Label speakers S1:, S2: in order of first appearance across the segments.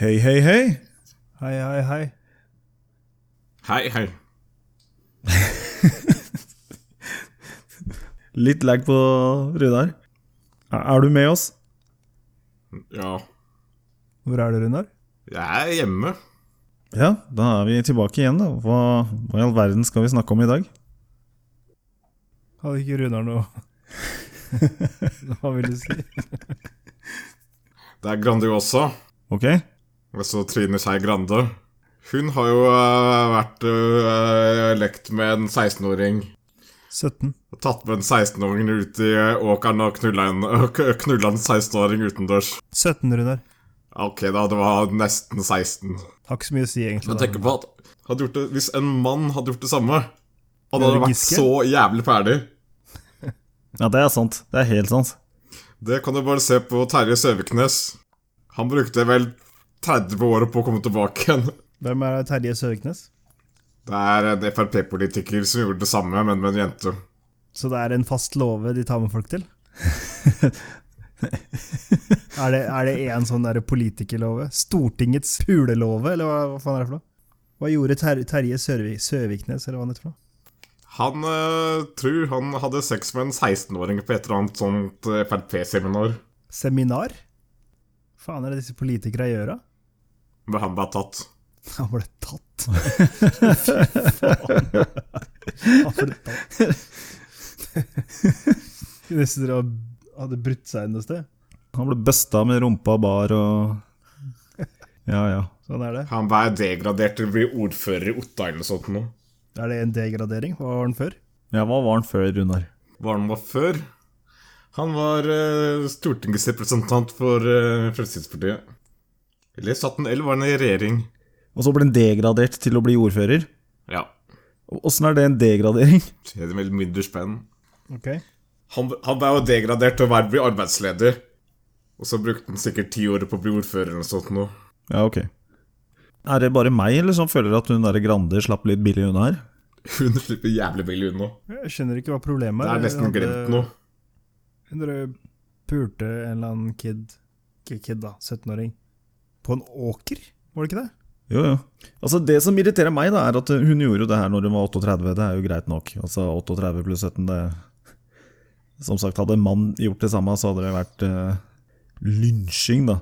S1: Hei, hei, hei.
S2: Hei, hei, hei.
S3: Hei, hei.
S1: Litt lag på Runar. Er er du med oss?
S3: Ja,
S2: Hvor er du, Runar?
S3: jeg er hjemme.
S1: Ja, da er vi tilbake igjen, da. Hva, hva i all verden skal vi snakke om i dag?
S2: Hadde ikke Runar noe Hva vil du si?
S3: Det er Grandiosa.
S1: Ok?
S3: Altså Trine Skei Grande. Hun har jo eh, vært eh, lekt med en 16-åring.
S2: 17.
S3: Og Tatt med en 16-åring ut i eh, åkeren og knulla en, og k- knulla en 16-åring utendørs.
S2: 17, Runar.
S3: Ok, da. Det var nesten 16.
S2: Har ikke så mye å si, egentlig.
S3: Men
S2: da.
S3: tenk på at hadde gjort det, Hvis en mann hadde gjort det samme Han hadde
S2: Eller
S3: vært
S2: Giske?
S3: så jævlig ferdig.
S1: Ja, det er sant. Det er helt sant.
S3: Det kan du bare se på Terje Søviknes. Han brukte vel 30 år på å komme tilbake igjen.
S2: Hvem er Terje Søviknes?
S3: Det er en Frp-politiker som gjorde det samme, men med en jente.
S2: Så det er en fast låve de tar med folk til? er, det, er det en sånn der politikerlåve? Stortingets pulelåve, eller hva, hva faen er det for noe? Hva gjorde ter Terje Sørvi Søviknes, eller hva han heter for noe?
S3: Han eh, tror han hadde sex med en 16-åring på et eller annet sånt eh, Frp-seminar.
S2: Seminar? Faen er det disse politikere gjør, da?
S3: Men han ble tatt.
S2: Han ble tatt. Kunne nesten dere hadde brutt seg inn noe sted.
S1: Han ble busta med rumpa bar og Ja, ja.
S2: Sånn er det.
S3: Han ble degradert til å bli ordfører i Otta eller noe sånt nå.
S2: Er det en degradering? Hva var den før?
S1: Ja, Hva var han før, Runar?
S3: Hva han var før? Han var eh, stortingsrepresentant for eh, Fremskrittspartiet. Eller satt han, eller var han i regjering?
S1: Og så ble han degradert til å bli ordfører?
S3: Ja.
S1: Åssen er det en degradering?
S3: Det er vel mindre spenn.
S2: Ok.
S3: Han, han ble jo degradert til å være bli arbeidsleder. Og så brukte han sikkert ti år på å bli ordfører eller noe sånt nå.
S1: Ja, ok. Er det bare meg eller som føler at hun der Grande slapp litt billig unna her?
S3: Hun slipper jævlig billig unna.
S2: Jeg skjønner ikke hva problemet
S3: Det
S2: er.
S3: er nesten
S1: eh,
S3: glemt nå.
S2: Hun dere pulte en eller annen kid, ikke kid da, 17-åring, på en åker? Var det ikke det?
S1: Jo, jo. Altså Det som irriterer meg, da, er at hun gjorde jo det her når hun var 38. Det er jo greit nok. Altså 38 pluss 17, det Som sagt, hadde en mann gjort det samme, så hadde det vært eh, lynsjing, da.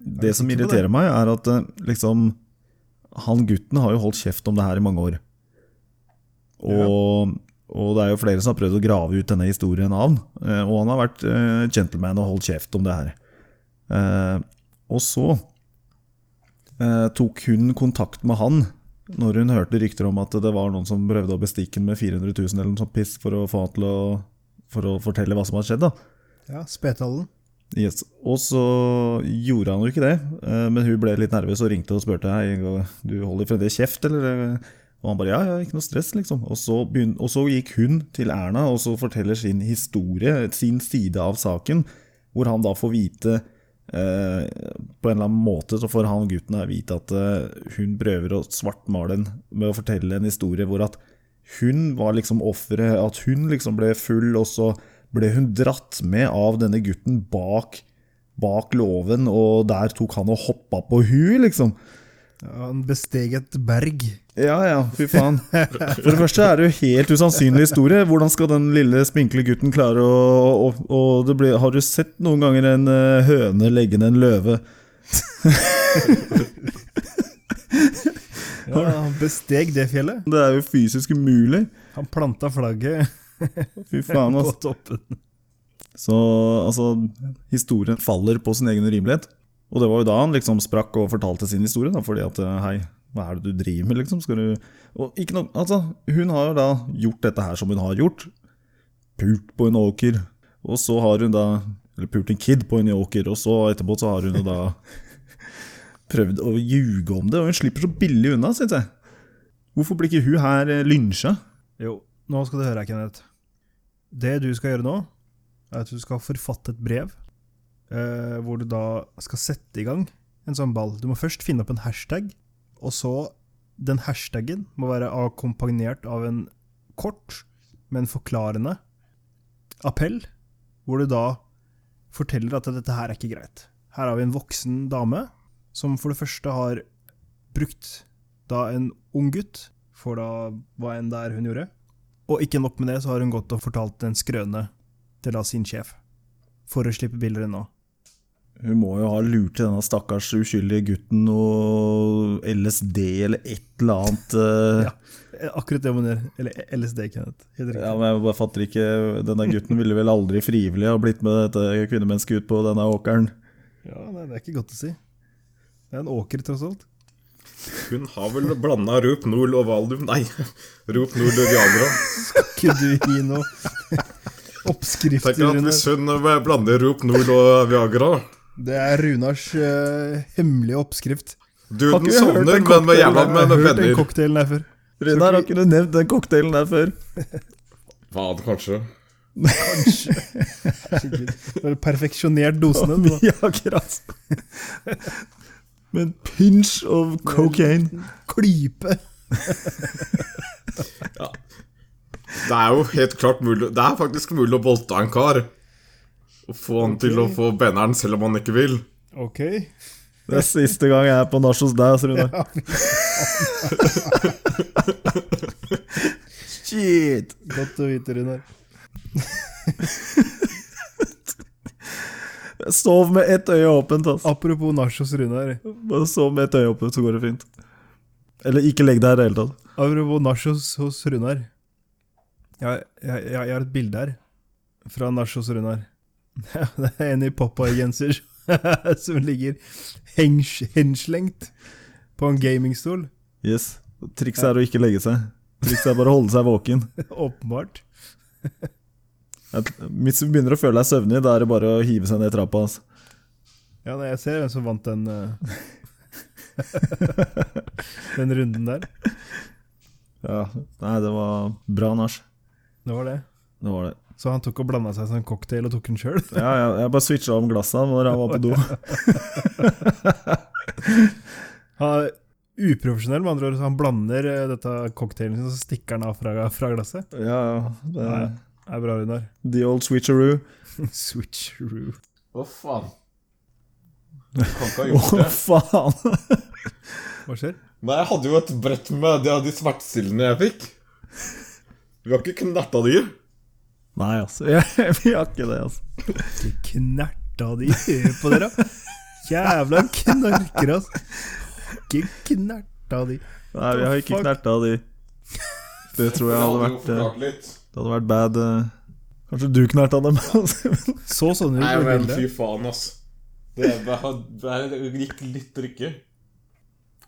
S1: Det som
S2: sikker på
S1: irriterer meg, er at eh, liksom Han gutten har jo holdt kjeft om det her i mange år. Og, og det er jo flere som har prøvd å grave ut denne historien av han. eh, Og han har vært eh, gentleman og holdt kjeft om det her. Eh, og så eh, tok hun kontakt med han når hun hørte rykter om at det var noen som prøvde å bestikke ham med 400 000 eller noe sånt piss for å få han til å for å fortelle hva som hadde skjedd. da.
S2: Ja, Spetalen.
S1: Yes. Og så gjorde han jo ikke det, eh, men hun ble litt nervøs og ringte og spurte hei, du holder fremdeles kjeft, eller? Og han bare ja, ja, ikke noe stress, liksom. Og så, begyn- og så gikk hun til Erna og så forteller sin historie, sin side av saken, hvor han da får vite eh, På en eller annen måte så får han gutten her vite at eh, hun prøver å svartmale en med å fortelle en historie hvor at hun var liksom offeret, at hun liksom ble full, og så ble hun dratt med av denne gutten bak, bak låven, og der tok han og hoppa på hun, liksom.
S2: Ja, han besteg et berg.
S1: Ja ja, fy faen. For det første er det jo helt usannsynlig historie. Hvordan skal den lille, spinkle gutten klare å å- å- det blir- Har du sett noen ganger en eh, høne legge ned en løve?
S2: Ja, han besteg det fjellet.
S1: Det er jo fysisk umulig.
S2: Han planta flagget
S1: Fy faen,
S2: på
S1: altså.
S2: toppen.
S1: Så altså, historien faller på sin egen urimelighet. Og det var jo da han liksom sprakk og fortalte sin historie, da, fordi at eh, hei, hva er det du driver med, liksom? Skal du Og ikke noe Altså, hun har jo da gjort dette her som hun har gjort. Pult på en åker, og så har hun da Eller pult en kid på en åker, og så etterpå så har hun jo da prøvd å ljuge om det, og hun slipper så billig unna, syns jeg. Hvorfor blir ikke hun her eh, lynsja?
S2: Jo, nå skal du høre, Kenneth. Det du skal gjøre nå, er at du skal forfatte et brev, eh, hvor du da skal sette i gang en sånn ball. Du må først finne opp en hashtag, og så den hashtagen må være akkompagnert av en kort, men forklarende appell, hvor du da forteller at dette her er ikke greit. Her har vi en voksen dame som for det første har brukt da en ung gutt for da hva enn det er hun gjorde. Og ikke nok med det, så har hun gått og fortalt en skrøne til da sin sjef. For å slippe bilder unna.
S1: Hun må jo ha lurt til denne stakkars uskyldige gutten noe LSD eller et eller annet. eh.
S2: Ja. Akkurat det hun gjør. Eller eh, LSD, Kenneth. Helt riktig.
S1: Ja, men jeg bare fatter ikke Denne gutten ville vel aldri frivillig ha blitt med dette kvinnemennesket ut på denne åkeren.
S2: Ja, nei, det er ikke godt å si. Det er en åker, tross alt.
S3: Hun har vel blanda Rup Nol og Valium Nei, Rup Nol og Viagra.
S2: Skal ikke du gi noe oppskrifter?
S3: Tenk at
S2: Rune?
S3: hvis hun blander Rup Nol og Viagra
S2: Det er Runars eh, hemmelige oppskrift.
S3: Du,
S1: Har
S3: den
S1: ikke jeg hørt
S3: sovner, men med
S1: en cocktail
S3: jævla
S1: der,
S3: med
S2: Jeg har hørt den
S3: venner.
S2: cocktailen der før.
S1: Runar, har ikke du nevnt den cocktailen der før?
S3: Faen, kanskje.
S2: Herregud. Du har perfeksjonert dosen din. da.
S1: Ja, akkurat. Med en pinch of cocaine.
S2: Klype!
S3: Ja. Det er jo helt klart mulig Det er faktisk mulig å voldta en kar. Og få han til å få benneren selv om han ikke vil.
S2: Ok.
S1: Det er siste gang jeg er på nach hos deg, Rune. Shit!
S2: Godt å vite, Runar.
S1: Jeg Sov med ett øye åpent, altså.
S2: Apropos nachos, Runar.
S1: Bare sov med ett øye åpent, så går det fint. Eller ikke legg deg i det hele tatt.
S2: Apropos nachos hos Runar. Jeg, jeg, jeg, jeg har et bilde her fra nachos Runar. Det er en i Popeye-genser som ligger hens, henslengt på en gamingstol.
S1: Yes. Trikset er å ikke legge seg. Trikset er bare å holde seg våken.
S2: Åpenbart.
S1: At- Hvis du begynner å føle deg søvnig, da er det bare å hive seg ned trappa. Altså.
S2: Ja, nei, jeg ser hvem som vant den eh, Den runden der.
S1: Ja. Nei, det var bra nach.
S2: Det var det.
S1: Det var det.
S2: Så han tok og blanda seg som en cocktail og tok den sjøl.
S1: Ja, jeg, jeg bare switcha om glassa når jeg var på do.
S2: Han er uprofesjonell, med andre ord. Så han blander eh, dette cocktailen sin, og så stikker han av fra, fra glasset.
S1: Ja, ja. Det
S2: Nei.
S1: er
S2: Det er bra, Runar.
S1: the old switcheroo.
S2: Switcheroo.
S3: Hva faen? Kan ikke ha
S1: Å,
S3: gjort det.
S1: faen!
S2: Hva skjer?
S3: Nei, jeg hadde jo et brett med de, de smertestillende jeg fikk. Du har ikke knerta de?
S1: Nei, altså. Jeg, vi har ikke det, altså.
S2: De knerta de på dere. Jævla knarkere, ass. Ikke knerta de.
S1: Nei, vi har ikke
S2: Fuck.
S1: knerta de. Det tror jeg hadde vært eh, Det hadde vært bad eh, Kanskje du knerta dem? altså.
S2: Så sånn ut
S3: Nei,
S2: på
S3: men
S2: bildet.
S3: fy faen, ass. Det, gikk litt rykke.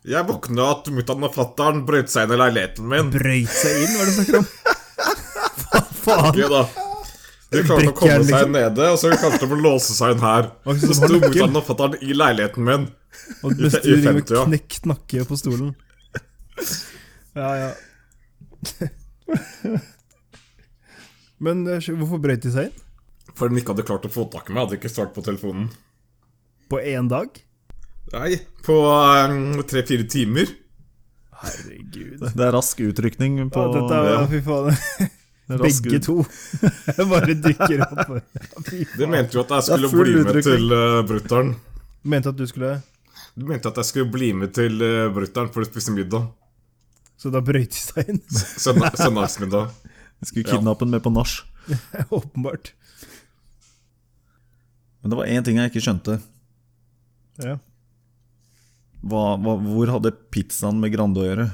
S3: Jeg våkna at mutter'n og fatter'n brøt seg inn i leiligheten min.
S2: Brøyt seg inn, hva er det du snakker om? Hva faen?
S3: Ja da. De klarte å komme
S2: Brekkjern,
S3: seg
S2: liksom.
S3: nede, og så klarte de å låse seg inn her.
S2: Hva er det
S3: Så
S2: som har
S3: sto
S2: nøkkel?
S3: mutter'n og fatter'n i leiligheten min.
S2: Og
S3: Ute i
S2: bestyring med
S3: 50, ja.
S2: knekt nakke på stolen. Ja, ja. Men eh, hvorfor brøyt de seg inn?
S3: For de ikke hadde klart å få tak i meg, hadde ikke svart på telefonen.
S2: På én dag?
S3: Nei, på eh, tre-fire timer.
S2: Herregud.
S1: Det er rask utrykning på
S2: Ja, dette er,
S3: Ja.
S2: Fy faen.
S1: rask
S2: Begge
S1: ut-
S2: to bare dykker opp. Ja, fy
S3: De
S2: faen.
S3: mente jo at jeg skulle
S1: full
S3: bli med
S1: utrykning.
S3: til uh, brutter'n.
S2: Mente at du skulle
S3: De mente at jeg skulle bli med til uh, brutter'n for å spise middag.
S2: Så da brøyt de seg inn.
S3: Søndag, søndagsmiddag.
S1: Jeg Skulle kidnappe den med på nach.
S2: Åpenbart.
S1: Men det var én ting jeg ikke skjønte.
S2: Ja.
S1: Hva, hva, hvor hadde pizzaen med Grande å gjøre?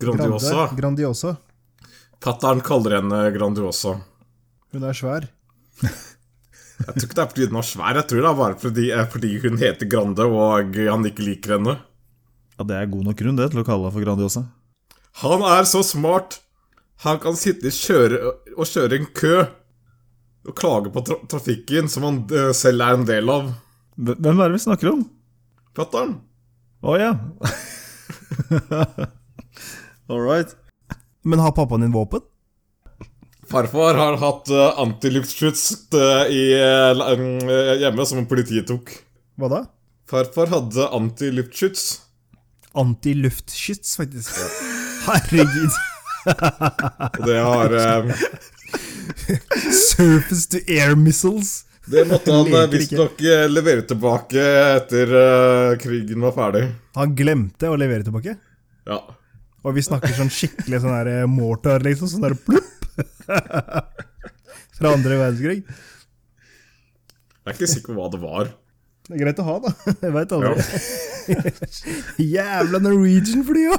S3: Grandiosa.
S2: Grande- Grandiosa.
S3: Fatter'n kaller henne Grandiosa.
S2: Hun er svær.
S3: Jeg tror ikke det er fordi hun er svær, jeg tror det er bare fordi, eh, fordi hun heter Grande og han ikke liker henne.
S1: Ja, Det er god nok grunn det til å kalle deg for Grandiosa.
S3: Han er så smart! Han kan sitte i kjøre, og kjøre en kø og klage på tra trafikken, som han eh, selv er en del av.
S1: Hv- Hvem er det vi snakker om?
S3: Fatter'n?
S1: Å ja. All right.
S2: Men har pappaen din våpen?
S3: Farfar har hatt uh, antiluftskyts eh, i, eh, la- eh, hjemme som politiet tok.
S2: Hva da?
S3: Farfar hadde antiluftskyts.
S2: Antiluftskyts, faktisk. Herregud.
S3: Og det har eh,
S2: Surface to air missiles.
S3: Det måtte han
S2: Leker
S3: eh, visstnok eh, levere tilbake etter eh, krigen var ferdig.
S2: Han glemte å levere tilbake.
S3: Ja.
S2: Og vi snakker sånn skikkelig sånn der mortar, liksom. Sånn der plupp! Fra andre verdenskrig.
S3: Jeg er ikke sikker på hva det var.
S2: Det er greit å ha, da. Jeg veit
S3: Ja.
S2: aldri. Jævla Norwegian-fly, jo!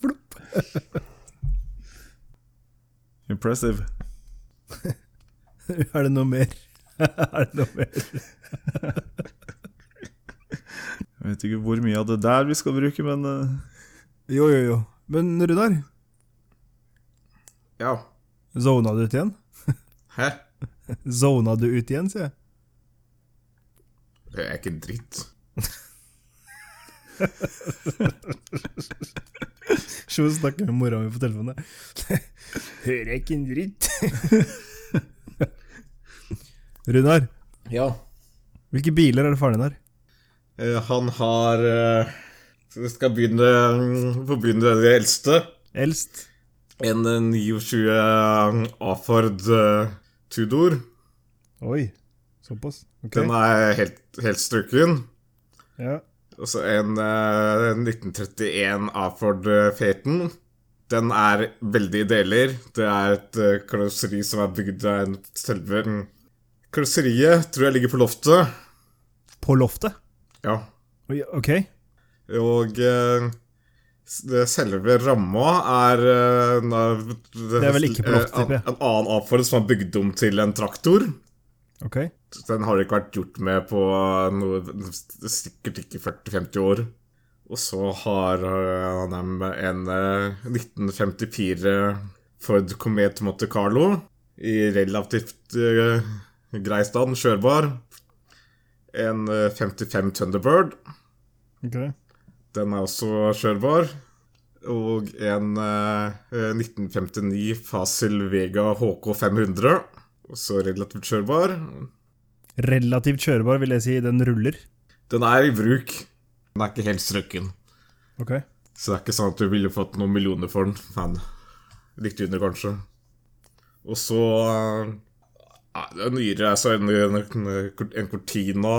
S2: Flopp.
S1: Impressive.
S2: Er det noe mer? Er det noe mer?
S1: Jeg vet ikke hvor mye av det der vi skal bruke, men eh,
S2: Jo, jo, jo. Men Runar,
S3: Ja.
S2: zona du ut igjen?
S3: Hæ?
S2: Zona du ut igjen, sier jeg.
S3: Det er ikke en dritt.
S2: Se hun snakker med mora mi på telefonen. Hører jeg ikke en dritt. Runar,
S3: Ja.
S2: hvilke biler er det faren din har?
S3: Eh, Han har eh, så Vi skal begynne mm, få begynne med det eldste.
S2: Eldst?
S3: En eh, 29 A-Ford eh, Tudor.
S2: Oi, såpass. Ok.
S3: Den er helt, helt struken.
S2: Ja.
S3: Og så en eh, 1931 A-Ford eh, Phaeton. Den er veldig i deler. Det er et eh, karosseri som er bygd av en selve mm, Karosseriet tror jeg ligger på loftet.
S2: På loftet?
S3: Ja.
S2: Oi, ok.
S3: Og eh, s- det selve ramma er eh, na-
S2: Det er vel ikke på loftet,
S3: eh, an-
S2: tipper jeg.
S3: En annen A-Ford som er bygd om til en traktor.
S2: Ok.
S3: Den har ikke vært gjort med på noe, sikkert ikke 40-50 år. Og så har øh, han en, en øh, 1954 Ford Comet Monte Carlo i relativt øh, grei stand, kjørbar. En øh, 55 Thunderbird,
S2: ok.
S3: den er også kjørbar. Og en øh, 1959 Facil Vega HK 500, også relativt kjørbar.
S2: Relativt kjørbar, vil jeg si. Den ruller.
S3: Den er i bruk. Den er ikke helt strøkken.
S2: Ok.
S3: Så det er ikke sånn at du ville fått noen millioner for den. Men litt under, kanskje. Og så eh, ja, Det er nyere altså en, en, en Cortina.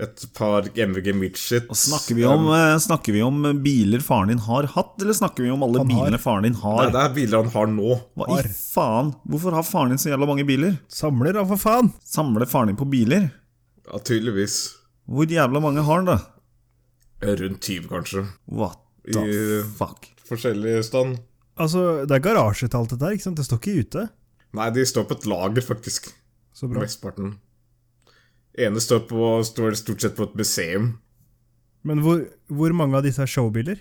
S3: Et par MVG Midget.
S1: og snakker, vi om, eh, snakker vi om biler faren din har hatt, eller snakker vi om alle
S2: Han har.
S1: bilene faren din
S3: Nei,
S1: har?
S3: det er biler han har nå.
S1: Hva
S2: har.
S1: i faen? Hvorfor har faren din så jævla mange biler?
S2: Samler, da, for faen!
S1: Samler faren din på biler?
S3: Ja, tydeligvis.
S1: Hvor jævla mange har han, da?
S3: Rundt 20, kanskje.
S1: What the
S3: I-
S1: fuck?
S3: Forskjellig stand.
S2: Altså, det er garasjetall, dette her. ikke sant? Det står ikke ute.
S3: Nei, de står på et lager, faktisk.
S2: Så bra.
S3: Mesteparten. Ene står, på, står stort sett på et museum.
S2: Men hvor, hvor mange av disse er showbiler?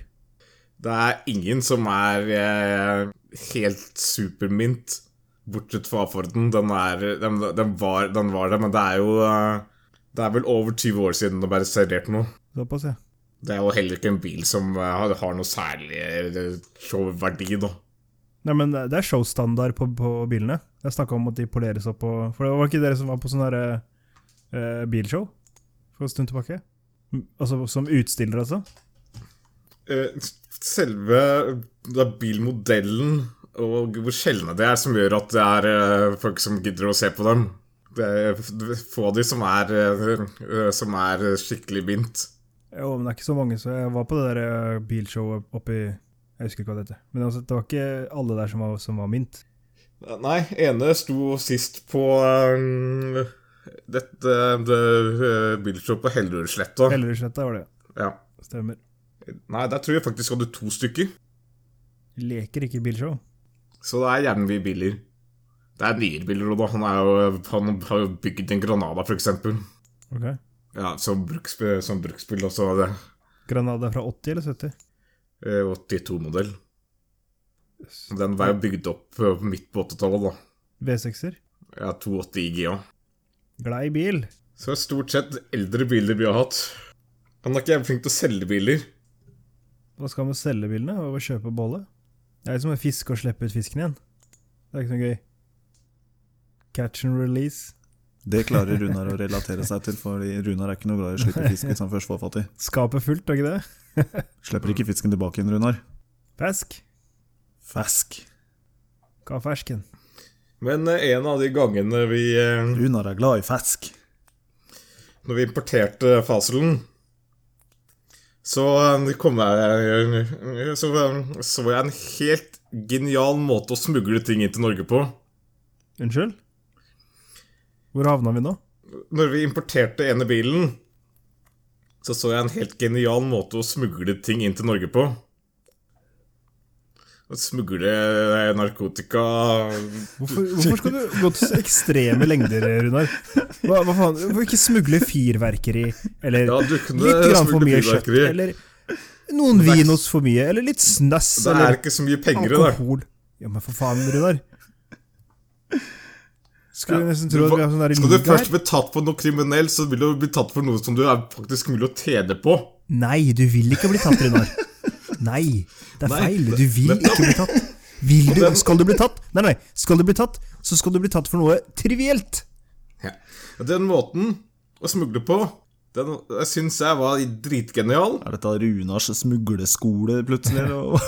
S3: Det er ingen som er eh, helt supermint, bortsett fra Forden. Den, er, den, den, var, den var det, men det er jo eh, Det er vel over 20 år siden den ble servert noe.
S2: Såpass, ja.
S3: Det er jo heller ikke en bil som eh, har, har noe særlig eh, showverdi, da.
S2: Nei, men det er showstandard på, på bilene. Jeg snakka om at de poleres opp og For det var ikke dere som var på sånn derre eh, bilshow for en stund tilbake? M- Altså som utstiller, altså?
S3: Eh, selve det er bilmodellen og hvor sjeldne det er, som gjør at det er eh, folk som gidder å se på dem. Det er få av de som er, eh, som er skikkelig mint.
S2: Jo, men det er ikke så mange, så jeg var på det der eh, bilshowet oppi Jeg husker ikke hva det heter. Men altså, det var ikke alle der som var, som var mint.
S3: Nei, ene sto sist på øhm, dette det, bilshowet på Hellerudsletta.
S2: Hellerudsletta var det.
S3: Ja.
S2: Stemmer.
S3: Nei, der tror jeg faktisk hadde to stykker.
S2: Leker ikke bilshow.
S3: Så det er gjerne mye biler. Det er nyere biler, og da. Han, er jo, han har jo bygd en Granada, for eksempel.
S2: Ok.
S3: Ja, som, bruksbil, som bruksbil også. Det.
S2: Granada er fra 80 eller 70?
S3: eh, 82-modell. Den var jo bygd opp eh, midt på 80-tallet, da.
S2: V6-er.
S3: Ja, 280 IG òg.
S2: Glad i bil.
S3: Så det er stort sett eldre biler vi har hatt. Han er ikke jævlig flink til å selge biler.
S2: Hva skal man selge bilene? Og kjøpe bolle? Det er jo som å fiske og slippe ut fisken igjen. Det er ikke noe gøy. Catch and release.
S1: Det klarer Runar å relatere seg til, Fordi Runar er ikke noe glad i å slippe fisk hvis han først får fatt i.
S2: Skapet fullt, er ikke det?
S1: Slipper ikke fisken tilbake igjen, Runar.
S2: Fisk.
S1: Fask.
S2: Hva er fersken?
S3: Men eh, en av de gangene vi eh,
S1: Runar er glad i fisk.
S3: Når vi importerte faselen, så eh, kom jeg Så eh, så jeg en helt genial måte å smugle ting inn til Norge på.
S2: Unnskyld? Hvor havna vi nå?
S3: Når vi importerte ene bilen, så så jeg en helt genial måte å smugle ting inn til Norge på. Å Smugle eh, narkotika
S2: Hvorfor, hvorfor skal du gå til så ekstreme lengder, Runar? Hva, hva faen? Hvorfor ikke smugle fyrverkeri? Eller
S3: Ja, du kunne
S2: litt grann for
S3: smugle
S2: mye kjøtt?
S3: fyrverkeri.
S2: Eller noen vinos for mye? Eller litt snass?
S3: Det er
S2: Eller
S3: ikke så mye penger i det.
S2: alkohol? Ja, men for faen, Runar. Skulle nesten tro at vi har sånn der
S3: Skal du
S2: league
S3: først
S2: her.
S3: bli tatt for noe kriminell, så vil du bli tatt for noe som du er faktisk mulig å tjene på.
S2: Nei, du vil ikke bli tatt, Runar. Nei, det er
S3: Nei,
S2: feil. Du vil ikke bli tatt. Vil du? Skal du bli tatt? Nei, nei. Skal du bli tatt, så skal du bli tatt for noe trivielt.
S3: Ja. Den måten å smugle på, den syns jeg var dritgenial.
S1: Er dette Runars smugleskole, plutselig? eller hva?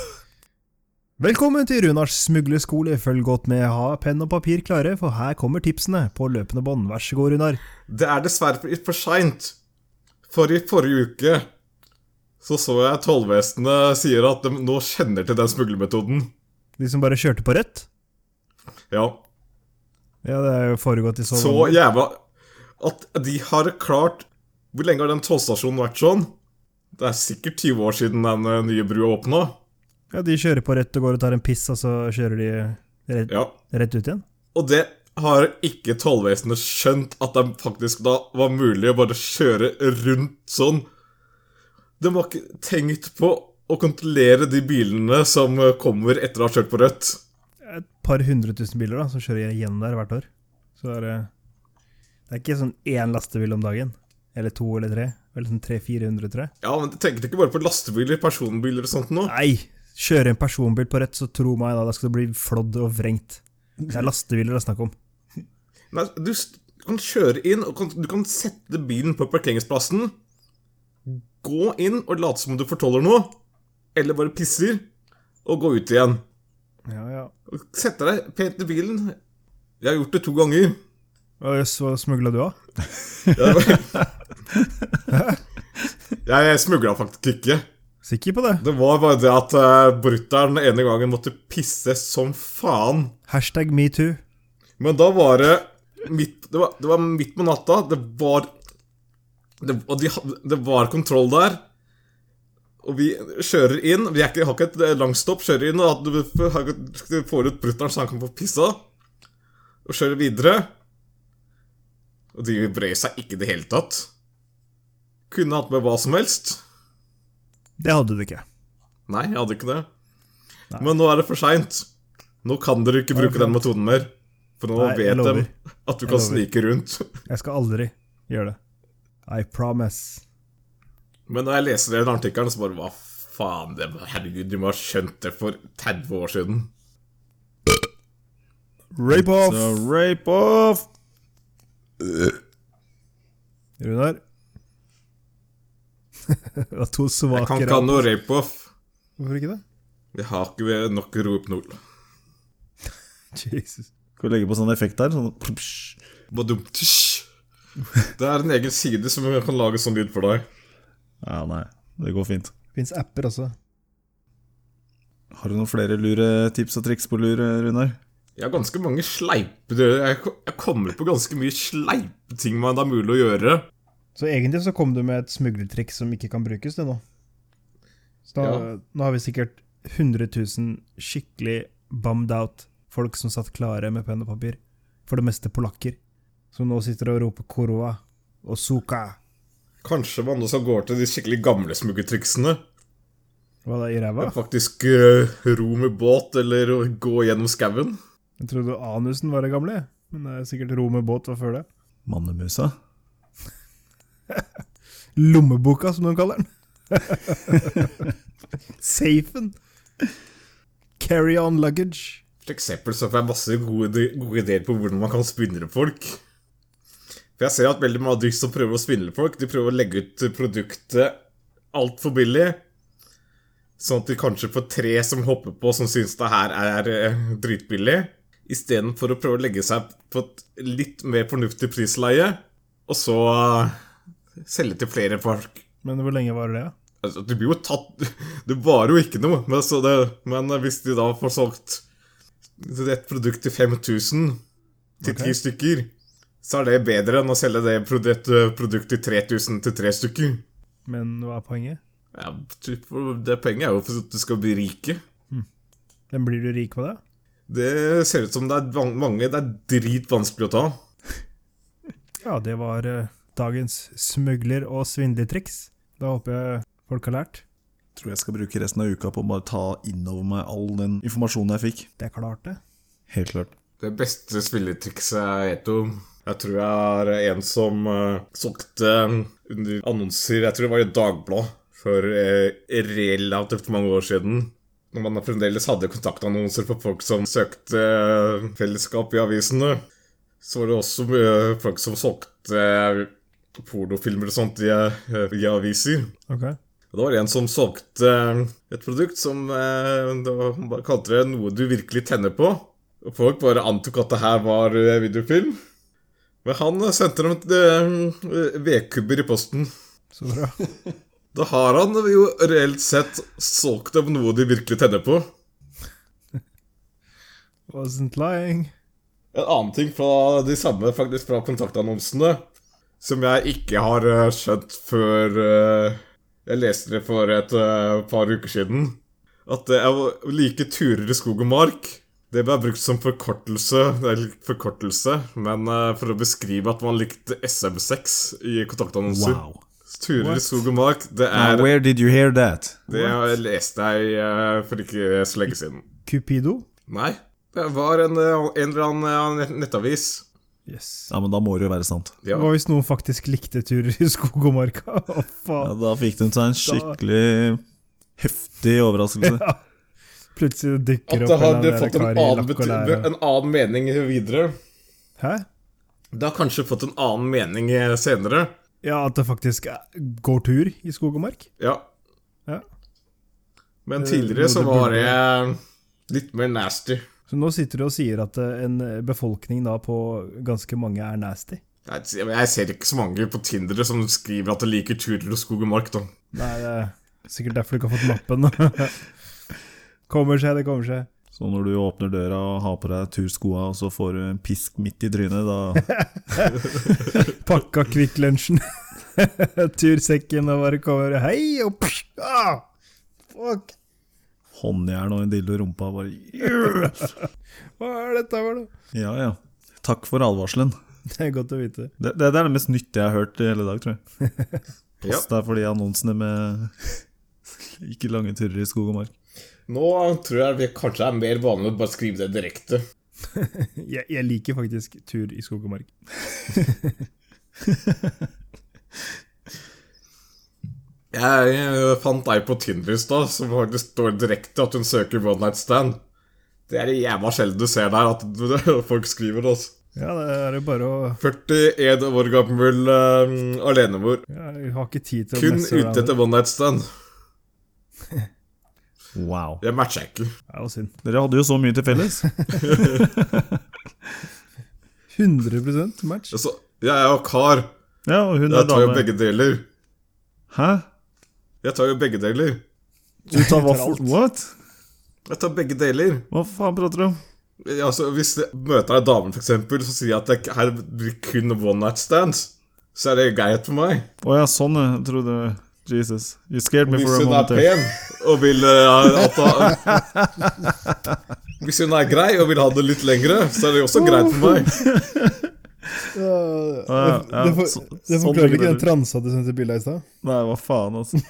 S2: Velkommen til Runars smugleskole. Følg godt med, ha penn og papir klare, for her kommer tipsene på løpende bånd. Vær så god, Runar.
S3: Det er dessverre for- for seint, for i forrige uke så så jeg tollvesenet sier at de nå kjenner til den smuglermetoden.
S2: De som bare kjørte på rødt?
S3: Ja.
S2: Ja, det er jo foregått i så
S3: Så jævla At de har klart Hvor lenge har den tollstasjonen vært sånn? Det er sikkert 20 år siden den eh, nye brua åpna.
S2: Ja, de kjører på rødt og går og tar en piss, og så kjører de rett,
S3: Ja.
S2: rett ut igjen?
S3: Og det har ikke tollvesenet skjønt, at det faktisk da var mulig å bare kjøre rundt sånn. De har ikke tenkt på å kontrollere de bilene som kommer etter å ha kjørt på rødt.
S2: Et par hundre tusen biler da, som kjører gjennom der hvert år. Så er det Det er ikke sånn én lastebil om dagen. Eller to eller tre. Eller sånn tre-fire hundre, tror jeg.
S3: Ja, men tenker du ikke bare på lastebiler, personbiler og sånt nå?
S2: Nei! Kjøre en personbil på rødt, så tro meg, da, da skal du bli flådd og vrengt. Det er lastebiler det er snakk om.
S3: Nei, du s- kan kjøre inn, og kan, du kan sette bilen på parkeringsplassen, gå inn og late som om du fortoller noe, eller bare pisser, og gå ut igjen.
S2: Ja, ja.
S3: Sette deg pent i bilen. Jeg har gjort det to ganger.
S2: Å, Jøss, hva smugla du av?
S3: Jeg, jeg smugla faktisk ikke.
S2: Sikker på det?
S3: Det var bare det at uh, brutter'n ene gangen måtte pisse som faen.
S2: Hashtag metoo.
S3: Men da var det midt, det var, det var midt på natta. Det var det, Og de, ha- det var kontroll der. Og vi kjører inn. Vi er ikke, har ikke et eh, langt stopp. Kjører inn, og at du f- har ikke- får ut brutter'n så han kan få pissa. Og kjører videre. Og de brøy seg ikke i det hele tatt. Kunne hatt med hva som helst.
S2: Det hadde du ikke.
S3: Nei, jeg hadde ikke det. Men nå er det for seint. Nå kan dere ikke bruke den metoden mer. For nå
S2: Nei, jeg
S3: vet de
S2: lover.
S3: at du
S2: Jeg
S3: kan
S2: lover.
S3: snike rundt.
S2: Jeg skal aldri gjøre det. I promise.
S3: Men da jeg leser den artikkelen, så bare Hva faen? Det, herregud, de må ha skjønt det for 30 år siden.
S2: Rape off!
S1: Så rape off!
S2: Runar. det var to svake
S3: Jeg kan ikke ha
S2: rap.
S3: noe rape-off.
S2: Hvorfor ikke det?
S3: Jeg har ikke nok rohypnol.
S2: Jesus.
S1: Skal vi legge på sånn effekt der? Sånn plupsj.
S3: Badum, tysj. Det er en egen side som kan lage sånn lyd for deg.
S1: Ja, nei. Det går fint.
S2: Fins apper også.
S1: Har du noen flere lure tips og triks på lur, Runar?
S3: Jeg har ganske mange sleipe Jeg jeg kommer på ganske mye sleipe ting man det er mulig å gjøre.
S2: Så egentlig så kom du med et smuglertriks som ikke kan brukes, det nå. Så da,
S3: Ja.
S2: nå har vi sikkert 100 000 skikkelig bummed out folk som satt klare med penn og papir. For det meste polakker. Som nå sitter og roper 'Koroa' og 'Suka'.
S3: Kanskje man også går til de skikkelig gamle smuggertriksene.
S2: Hva da, i ræva?
S3: Faktisk eh, ro med båt eller å gå gjennom skauen.
S2: Jeg trodde anusen var det gamle, jeg. men det er sikkert ro med båt var før det.
S1: Mannemusa?
S2: Lommeboka, som noen kaller den. Safen. Carry on luggage.
S3: For eksempel så får jeg masse gode, gode ideer på hvordan man kan svindle folk. For jeg ser at veldig mange av de som prøver å svindle folk, de prøver å legge ut produktet altfor billig. Sånn at de kanskje får tre som hopper på som syns det her er eh, dritbillig. istedenfor å prøve å legge seg på et litt mer fornuftig prisleie, og så eh, selge til flere folk.
S2: Men hvor lenge varer det?
S3: Altså, du blir jo tatt Det varer jo ikke noe, men, altså det, men hvis de da får solgt et produkt til 5000 til
S2: Ok.
S3: ti stykker, så er det bedre enn å selge det produktet, produktet til 3000 til tre stykker.
S2: Men hva er poenget?
S3: Ja, typ, det Poenget er jo for at du skal bli rike.
S2: Men blir du rik på det?
S3: Det ser ut som det er van- mange det er dritvanskelig å ta.
S2: Ja, det var eh, dagens smugler- og svindletriks. Da håper jeg folk har lært.
S1: Tror jeg skal bruke resten av uka på å bare ta innover meg all den informasjonen jeg fikk.
S2: Det er klart, det.
S1: Helt klart.
S3: Det beste spilletrikset jeg vet om Jeg tror jeg er en som eh, solgte under annonser Jeg tror det var i Dagbladet for eh, relativt mange år siden. Når man fremdeles hadde kontaktannonser for folk som søkte eh, fellesskap i avisene, så var det også mye folk som solgte eh, pornofilmer og sånt i, eh, i aviser.
S2: Ok.
S3: Og Det var en som solgte eh, et produkt som eh, det var- han bare kalte det 'noe du virkelig tenner på'. Og folk bare antok at det her var eh, videofilm. Men han eh, sendte dem et, eh, vedkubber i posten.
S2: Så bra.
S3: Da har han jo reelt sett solgt dem noe de virkelig tenner på.
S2: Wasn't lying.
S3: En annen ting fra de samme faktisk fra kontaktannonsene, som jeg ikke har eh, skjønt før eh, jeg leste det for et eh, par uker siden, at det er å like turer i skog og mark. Det ble brukt som forkortelse, eller forkortelse, men eh, for å beskrive at man likte SM6 i kontaktannonser.
S1: Wow.
S3: Turer
S2: What?
S3: i skog og mark, det
S1: Now,
S3: er
S1: where did you hear that?
S3: det jeg leste jeg eh, for ikke så lenge siden.
S2: Cupido?
S3: Nei, det var en, eh, en eller annen eh, nettavis.
S2: Yes.
S1: Ja, men da må det jo være sant.
S3: Ja.
S2: Hva hvis noen faktisk likte turer i skog og marka? Å,
S1: Ja,
S2: faen.
S1: da fikk de seg en sånn skikkelig heftig overraskelse.
S2: Ja. Plutselig dukker opp
S3: At
S2: en
S3: det
S2: eller
S3: hadde
S2: annen
S3: fått en
S2: kar i
S3: annen,
S2: lakk og
S3: bety-
S2: lære.
S3: en annen mening videre.
S2: Hæ?
S3: Det har kanskje fått en annen mening eh, senere.
S2: Ja, at det faktisk er- går tur i skog og mark?
S3: Ja.
S2: Ja.
S3: Men
S2: Det-
S3: tidligere så
S2: det burde-
S3: var det litt mer nasty.
S2: Så nå sitter du og sier at eh, en befolkning da på ganske mange er nasty.
S3: Nei, Jeg ser ikke så mange på Tinder som skriver at de liker turer og skog og mark, da.
S2: Nei, det er sikkert derfor du ikke har fått mappen. kommer seg, det kommer seg.
S1: Så når du åpner døra og har på deg turskoa, og så får du en pisk midt i trynet, da
S2: Pakka Kvikk Lunsjen. Tursekken og bare kommer Hei! Og psh, ah, fuck!
S1: håndjern og en dildo i rumpa bare yeah!
S2: Hva er dette for noe?
S1: Ja, ja. Takk for advarselen.
S2: Det er godt å vite.
S1: Det, det, det er det mest nyttige jeg har hørt i hele dag, tror jeg.
S3: Ja.
S1: Pass deg for de annonsene med ikke lange turer i skog og mark.
S3: Nå tror jeg det kanskje er mer vanlig å bare skrive det direkte.
S2: Jeg, jeg liker faktisk tur i skog og mark.
S3: Jeg eh, fant ei på Tinder i stad som faktisk står direkte at hun søker one night stand. Det er det jævla sjelden du ser der at folk skriver det, altså.
S2: Ja, det er jo bare å
S3: 41 år gammel uh, alenemor.
S2: ja, Jeg har ikke tid til å
S3: Kun
S2: messe around.
S3: ute etter one night stand.
S1: Wow.
S3: Jeg matcher ikke.
S2: Det er jo synd.
S1: Dere hadde jo så mye til felles.
S2: 100 match.
S3: Altså, jeg er jo kar.
S1: Ja, og hun er
S3: Jeg tar jo
S1: dame.
S3: begge deler.
S1: Hæ?
S3: Jeg tar jo begge deler.
S1: Du tar vaffel...
S2: alt.
S1: What?
S3: Jeg tar begge deler.
S1: Hva faen prater du om?
S3: Altså, Hvis jeg møter ei dame, for eksempel, som sier jeg at det her blir kun one night stands, så er det greit for meg.
S1: Å ja, sånn, jeg trodde Jesus. You scared me
S3: Hvis
S1: for a
S3: hun er
S1: moment.
S3: pen
S1: there.
S3: og vil eh, at da, Hvis hun er grei og vil ha det litt lengre, så er det også greit for meg.
S1: Ja, ja,
S2: det, for,
S1: så-
S2: det
S1: sånn
S2: forklarer
S1: tenker
S2: ikke den
S1: du.
S2: transa du sendte bilde av i stad.
S1: Nei, hva faen, altså.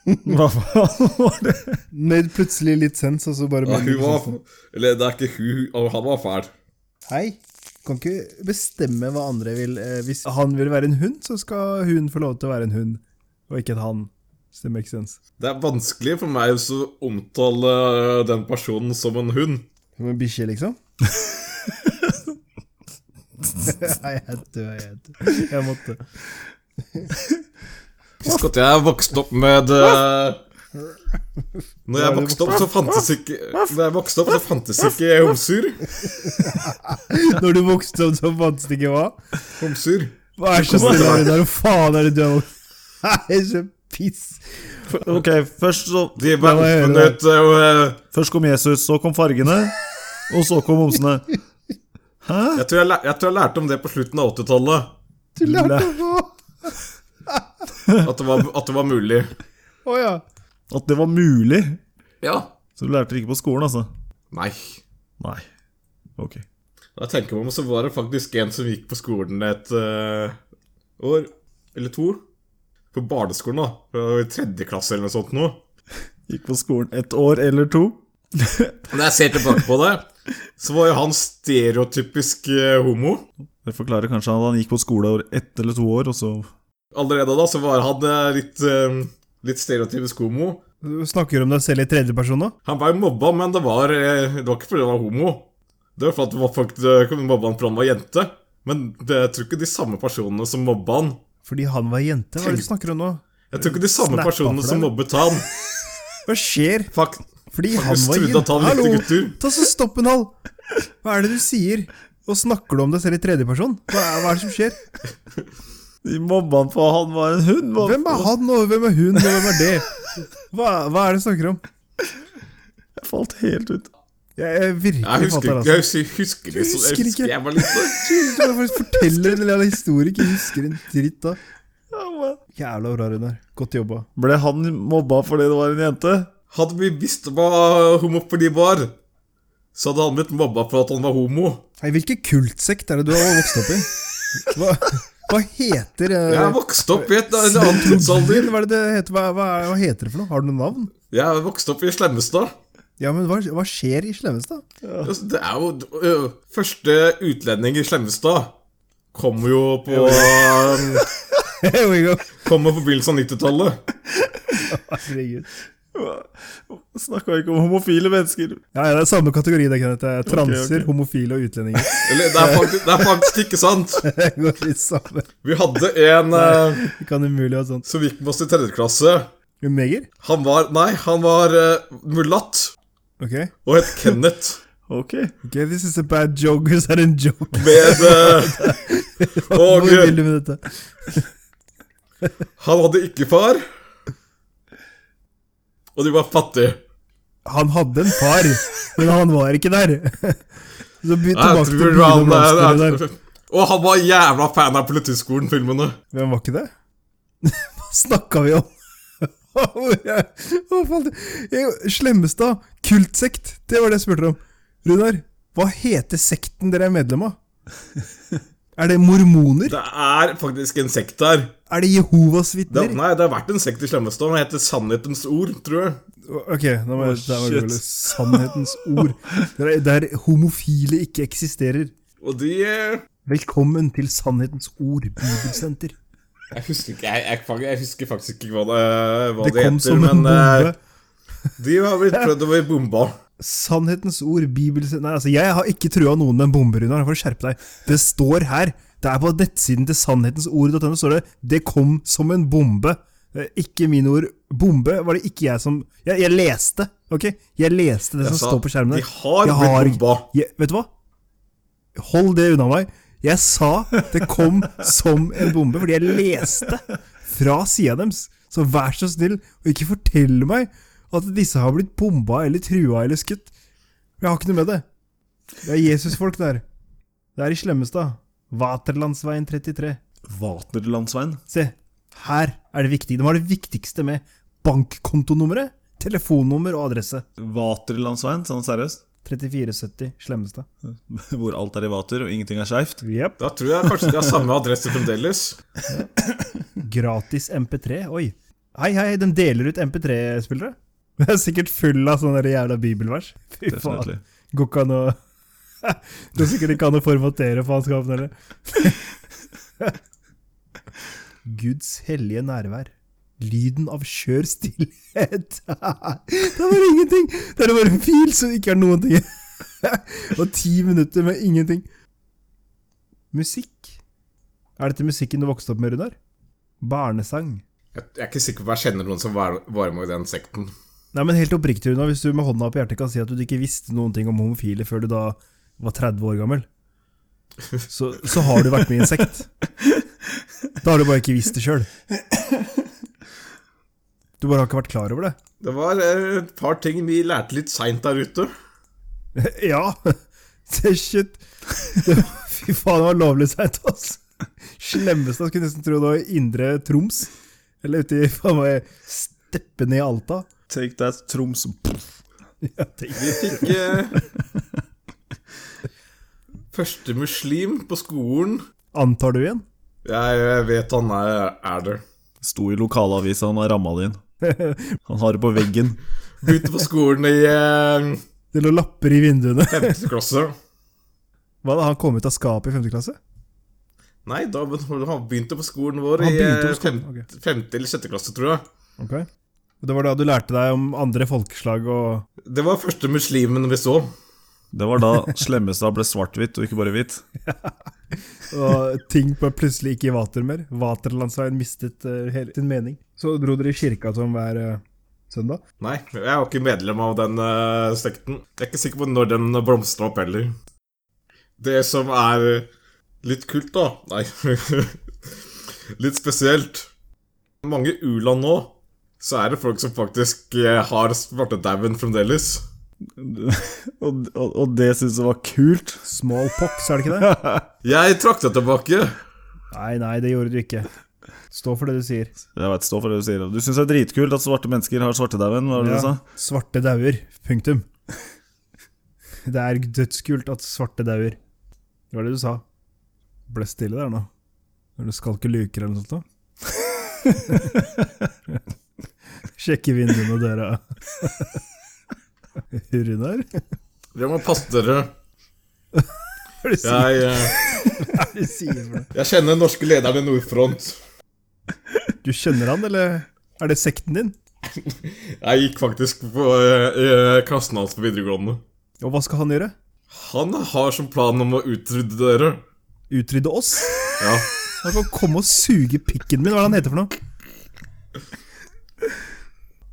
S1: Hva faen var det?
S2: Made plutselig litt sens, og så bare
S3: Ja,
S2: made
S1: Oh.
S3: hun
S2: litt
S3: var
S2: sens.
S3: Eller det er ikke hun, og han var fæl.
S2: Hei, kan ikke bestemme hva andre vil. Eh, hvis han vil være en hund, så skal hun få lov til å være en hund, og ikke en han. Stemmer ikke sens.
S3: Det er vanskelig for meg også å omtale den personen som en hund.
S2: Som en bikkje, liksom? Nei, jeg dør, jeg dør. Jeg måtte.
S3: Husk at jeg vokste opp med eh, Når jeg vokste opp, så fantes ikke Når jeg vokste opp, så fantes ikke homser.
S2: Når du vokste opp, så fantes det ikke hva?
S3: Homser.
S2: Vær så snill, Ragnar, hva faen er det du har Nei, så piss.
S1: Ok, først, så,
S3: De
S2: hva gjør
S3: verpen
S2: det?
S3: ut eh,
S1: først kom Jesus, så kom fargene, og så kom homsene. Hæ?
S3: jeg, tror jeg, lær- jeg tror jeg lærte om det på slutten av 80-tallet.
S2: Du lærte hva?
S3: At, det var- at det var mulig.
S2: Å ja.
S1: At det var mulig.
S3: Ja.
S1: Så du lærte det ikke på skolen, altså?
S3: Nei.
S1: Nei. Ok.
S3: Da tenker man så var det faktisk en som gikk på skolen et eh, år eller to. På barneskolen, da. Fra Tredje klasse eller noe sånt noe.
S1: Gikk på skolen et år eller to.
S3: Når jeg ser tilbake på det, så var jo han stereotypisk eh, homo.
S1: Det forklarer kanskje at han gikk på skole år- ett eller to år, og så
S3: Allerede da så var han eh, litt, eh, litt stereotypisk homo.
S2: Du snakker om deg selv i tredjeperson nå?
S3: Han var jo mobba, men det var, eh, det var ikke fordi han var homo. Det var fordi det var folk eh, kunne mobba han fordi han var jente. Men det, jeg tror ikke de samme personene som mobba han
S2: Fordi han var jente? Hva er det du snakker om nå?
S3: Jeg tror ikke de samme
S2: Snappa
S3: personene
S2: for
S3: som
S2: deg.
S3: mobbet han,
S2: Hva skjer?
S3: fakt
S2: Fordi han
S3: faktisk
S2: var
S3: trodde at han
S2: jente?
S3: likte gutter.
S2: Ta så stopp en hal! Hva er det du sier? Og snakker du om deg selv i tredjeperson? Hva, er- hva er det som skjer?
S1: De mobba han for han var en hund! hva-
S2: Hvem er han, og hvem er hun, og hvem er det? Hva, hva er det du snakker om?
S1: Jeg falt helt ut.
S2: Jeg, jeg virkelig
S3: Jeg husker
S2: fatter
S3: ikke.
S2: altså.
S3: Jeg husker, husker det,
S2: Du
S3: så jeg
S2: husker ikke?
S3: husker jeg var liten.
S2: Du bare forteller en eller annen historie, ikke husker en dritt da. Jævla bra, Runar. Godt jobba.
S1: Ble han mobba fordi det var en jente?
S3: Hadde vi visst hva homofili var, så hadde han blitt mobba for at han var homo.
S2: Hei, hvilken kultsekt er det du har vokst opp i? Hva, hva heter eh,
S3: Jeg vokste opp i et, en annen tidsalder.
S2: Hva, er det det heter? Hva, hva, er- hva heter det for noe? Har du noe navn?
S3: Jeg vokste opp i Slemmestad.
S2: Ja, men hva, hva skjer i Slemmestad?
S3: Altså, Det er jo ø, Første utlending i Slemmestad kommer jo på
S2: Here we go.
S3: Kommer på begynnelsen av 90-tallet.
S2: Herregud.
S1: Snakka ikke om homofile mennesker.
S2: Ja, ja, det er samme kategori, det, Kenneth. Det er Transer,
S1: ok.
S2: homofile og utlendinger.
S3: Eller, det er, faktisk, det er faktisk ikke sant.
S2: Det går litt sammen.
S3: Vi hadde en ø,
S2: Det kan umulig være sånt.
S3: som gikk med oss i tredje klasse.
S2: Men Meger?
S3: Han var Nei, han var ø, mulatt
S2: Ok.
S3: og het Kenneth.
S1: Ok.
S2: Ok, this is a bad joke. Is that a joke?
S3: Med ø,
S2: Hvor
S3: Og
S2: vil du med dette?
S3: Han hadde ikke far. Og de var fattige.
S2: Han hadde en far, men han var ikke der. Så begynn
S3: Jeg
S2: tilbake til
S3: tror
S2: Brune
S3: han,
S2: Blomster
S3: ø,
S2: der.
S3: er- og han var jævla fan av Politiskolen-filmene.
S2: Hvem var ikke det? Hva snakka vi om? Hvor er- Hva faen? Jeg- Slemmestad, kultsekt, det var det jeg spurte om. Runar, hva heter sekten dere er medlem av? Er det mormoner?
S3: Det er faktisk en sekt der.
S2: Er det Jehovas
S3: Det,
S2: vitner?
S3: nei, det har vært en sekt i Slemmestad. Den heter Sannhetens ord, tror jeg.
S2: Ok, da må jeg
S1: Å,
S2: da var
S1: shit.
S2: det vel Sannhetens ord. Der, der homofile ikke eksisterer.
S3: Og de eh,
S2: Velkommen til Sannhetens ord bibelsenter.
S3: Jeg husker, ikke, jeg, jeg, fak- jeg husker faktisk ikke hva det, hva
S2: Det
S3: det,
S2: kom
S3: heter,
S2: som en
S3: men eh,
S2: bombe.
S3: de har blitt prøvd å bli bomba.
S2: Sannhetens ord, bibelsenter Nei, altså, jeg har ikke trua noen med en bombe, Runar. Får du skjerpe deg. Det står her. Det er på nettsiden til sannhetensord.no står det 'Det kom som en bombe'. Eh, Ikke mine ord. Bombe var det ikke jeg som Jeg, jeg leste, ok? Jeg leste det
S3: Jeg
S2: som
S3: sa,
S2: står på skjermen.
S3: de
S2: der.
S3: har
S2: Jeg
S3: blitt bomba.
S2: Jeg, vet du hva? Hold det unna meg. Jeg sa det kom som en bombe, fordi jeg leste fra sida deres. Så vær så snill, og ikke fortell meg at disse har blitt bomba eller trua eller skutt. Jeg har ikke noe med det. Det er Jesusfolk der. Det er i Slemmestad. Vaterlandsveien 33.
S1: Vaterlandsveien.
S2: Se, her er det viktige. De har det viktigste med bankkontonummeret, telefonnummer og adresse.
S1: Vaterlandsveien, sånn seriøst?
S2: 3470 Slemmestad.
S1: Hvor alt er i vater og ingenting er skeivt?
S2: Yep.
S3: Da tror jeg kanskje de har samme adresse fremdeles.
S2: Gratis MP3? Oi. Hei, hei, den deler ut MP3-spillere. Det er sikkert full av sånne der jævla bibelvers. Fy faen.
S1: Definitivt.
S2: Går ikke an å Det er sikkert ikke an å formatere faenskapen heller. Guds hellige nærvær. Lyden av skjør stillhet. det er bare ingenting! Det er bare en fil som ikke er noen ting. Og ti minutter med ingenting. Musikk. Er dette musikken du vokste opp med, Runar? Barnesang.
S3: Jeg, jeg er ikke sikker på om jeg kjenner noen som var, var med i den sekten.
S2: Nei, men helt oppriktig, Runa, hvis du med hånda på hjertet kan si at du ikke visste noen ting om homofile før du da var 30 år gammel, så, så har du vært med i en sekt. Da har du bare ikke visst det sjøl. Du bare har ikke vært klar over det.
S3: Det var eh, et par ting vi lærte litt seint der ute.
S2: Ja! Det er shit. Det var, fy faen, det var lovlig seint, ass. Slemmeste, jeg skulle nesten tro det var i indre Troms. Eller ute i faen meg steppene i Alta.
S1: Take that, Troms.
S2: Ja, det-
S3: Vi fikk eh, første muslim på skolen.
S2: Antar du igjen?
S3: Jeg, jeg vet han er, er det.
S1: Sto i lokalavisa, han har ramma det inn. Han har det på veggen.
S3: Begynte på skolen i eh,
S2: Det lå lapper i vinduene.
S3: femte klasse.
S2: Hva da, han kom ut av skapet i femte klasse?
S3: Nei, da, men han begynte på skolen vår
S2: Han
S3: i
S2: begynte på
S3: eh,
S2: skolen,
S3: fem, femte eller sjette klasse, tror jeg.
S2: Ok. Og Det var da du lærte deg om andre folkeslag og
S3: Det var første muslimen vi så.
S1: Det var da Slemmestad ble svart-hvitt, og ikke bare hvitt.
S2: og ting på plutselig ikke i vater mer. Vaterlandsveien mistet eh, hele sin mening. Så dro dere i kirka som hver eh, søndag.
S3: Nei, jeg var ikke medlem av den eh, sekten. Jeg er ikke sikker på når den blomstra opp heller. Det som er litt kult, da Nei, litt spesielt. I mange u-land nå så er det folk som faktisk eh, har svartedauden fremdeles.
S1: Og, og, og det syntes jeg var kult.
S2: Smallpox, er det ikke det?
S3: Jeg trakk det tilbake.
S2: Nei, nei, det gjorde du ikke. Stå for det du sier.
S1: Jeg vet, stå for det Du sier Du syns det er dritkult at svarte mennesker har svartedauden? var det du sa?
S2: Svarte dauer. Punktum. Det er dødskult at svarte dauer. Det var det du sa. Ble stille der nå. Når du skalker luker eller noe sånt. da. Sjekke vinduene og døra. Runar?
S3: Dere må passe dere.
S2: Hva er det du sier-
S3: Jeg, eh,
S2: hva er det du sier for noe?
S3: jeg kjenner den norske lederen i Nordfront.
S2: Du skjønner han, eller er det sekten din?
S3: Jeg gikk faktisk på eh, eh, klassen hans på videregående.
S2: Og hva skal han gjøre?
S3: Han har som plan om å utrydde dere.
S2: Utrydde oss?
S3: Ja.
S2: Han kan komme og suge pikken min. Hva er det han heter for noe?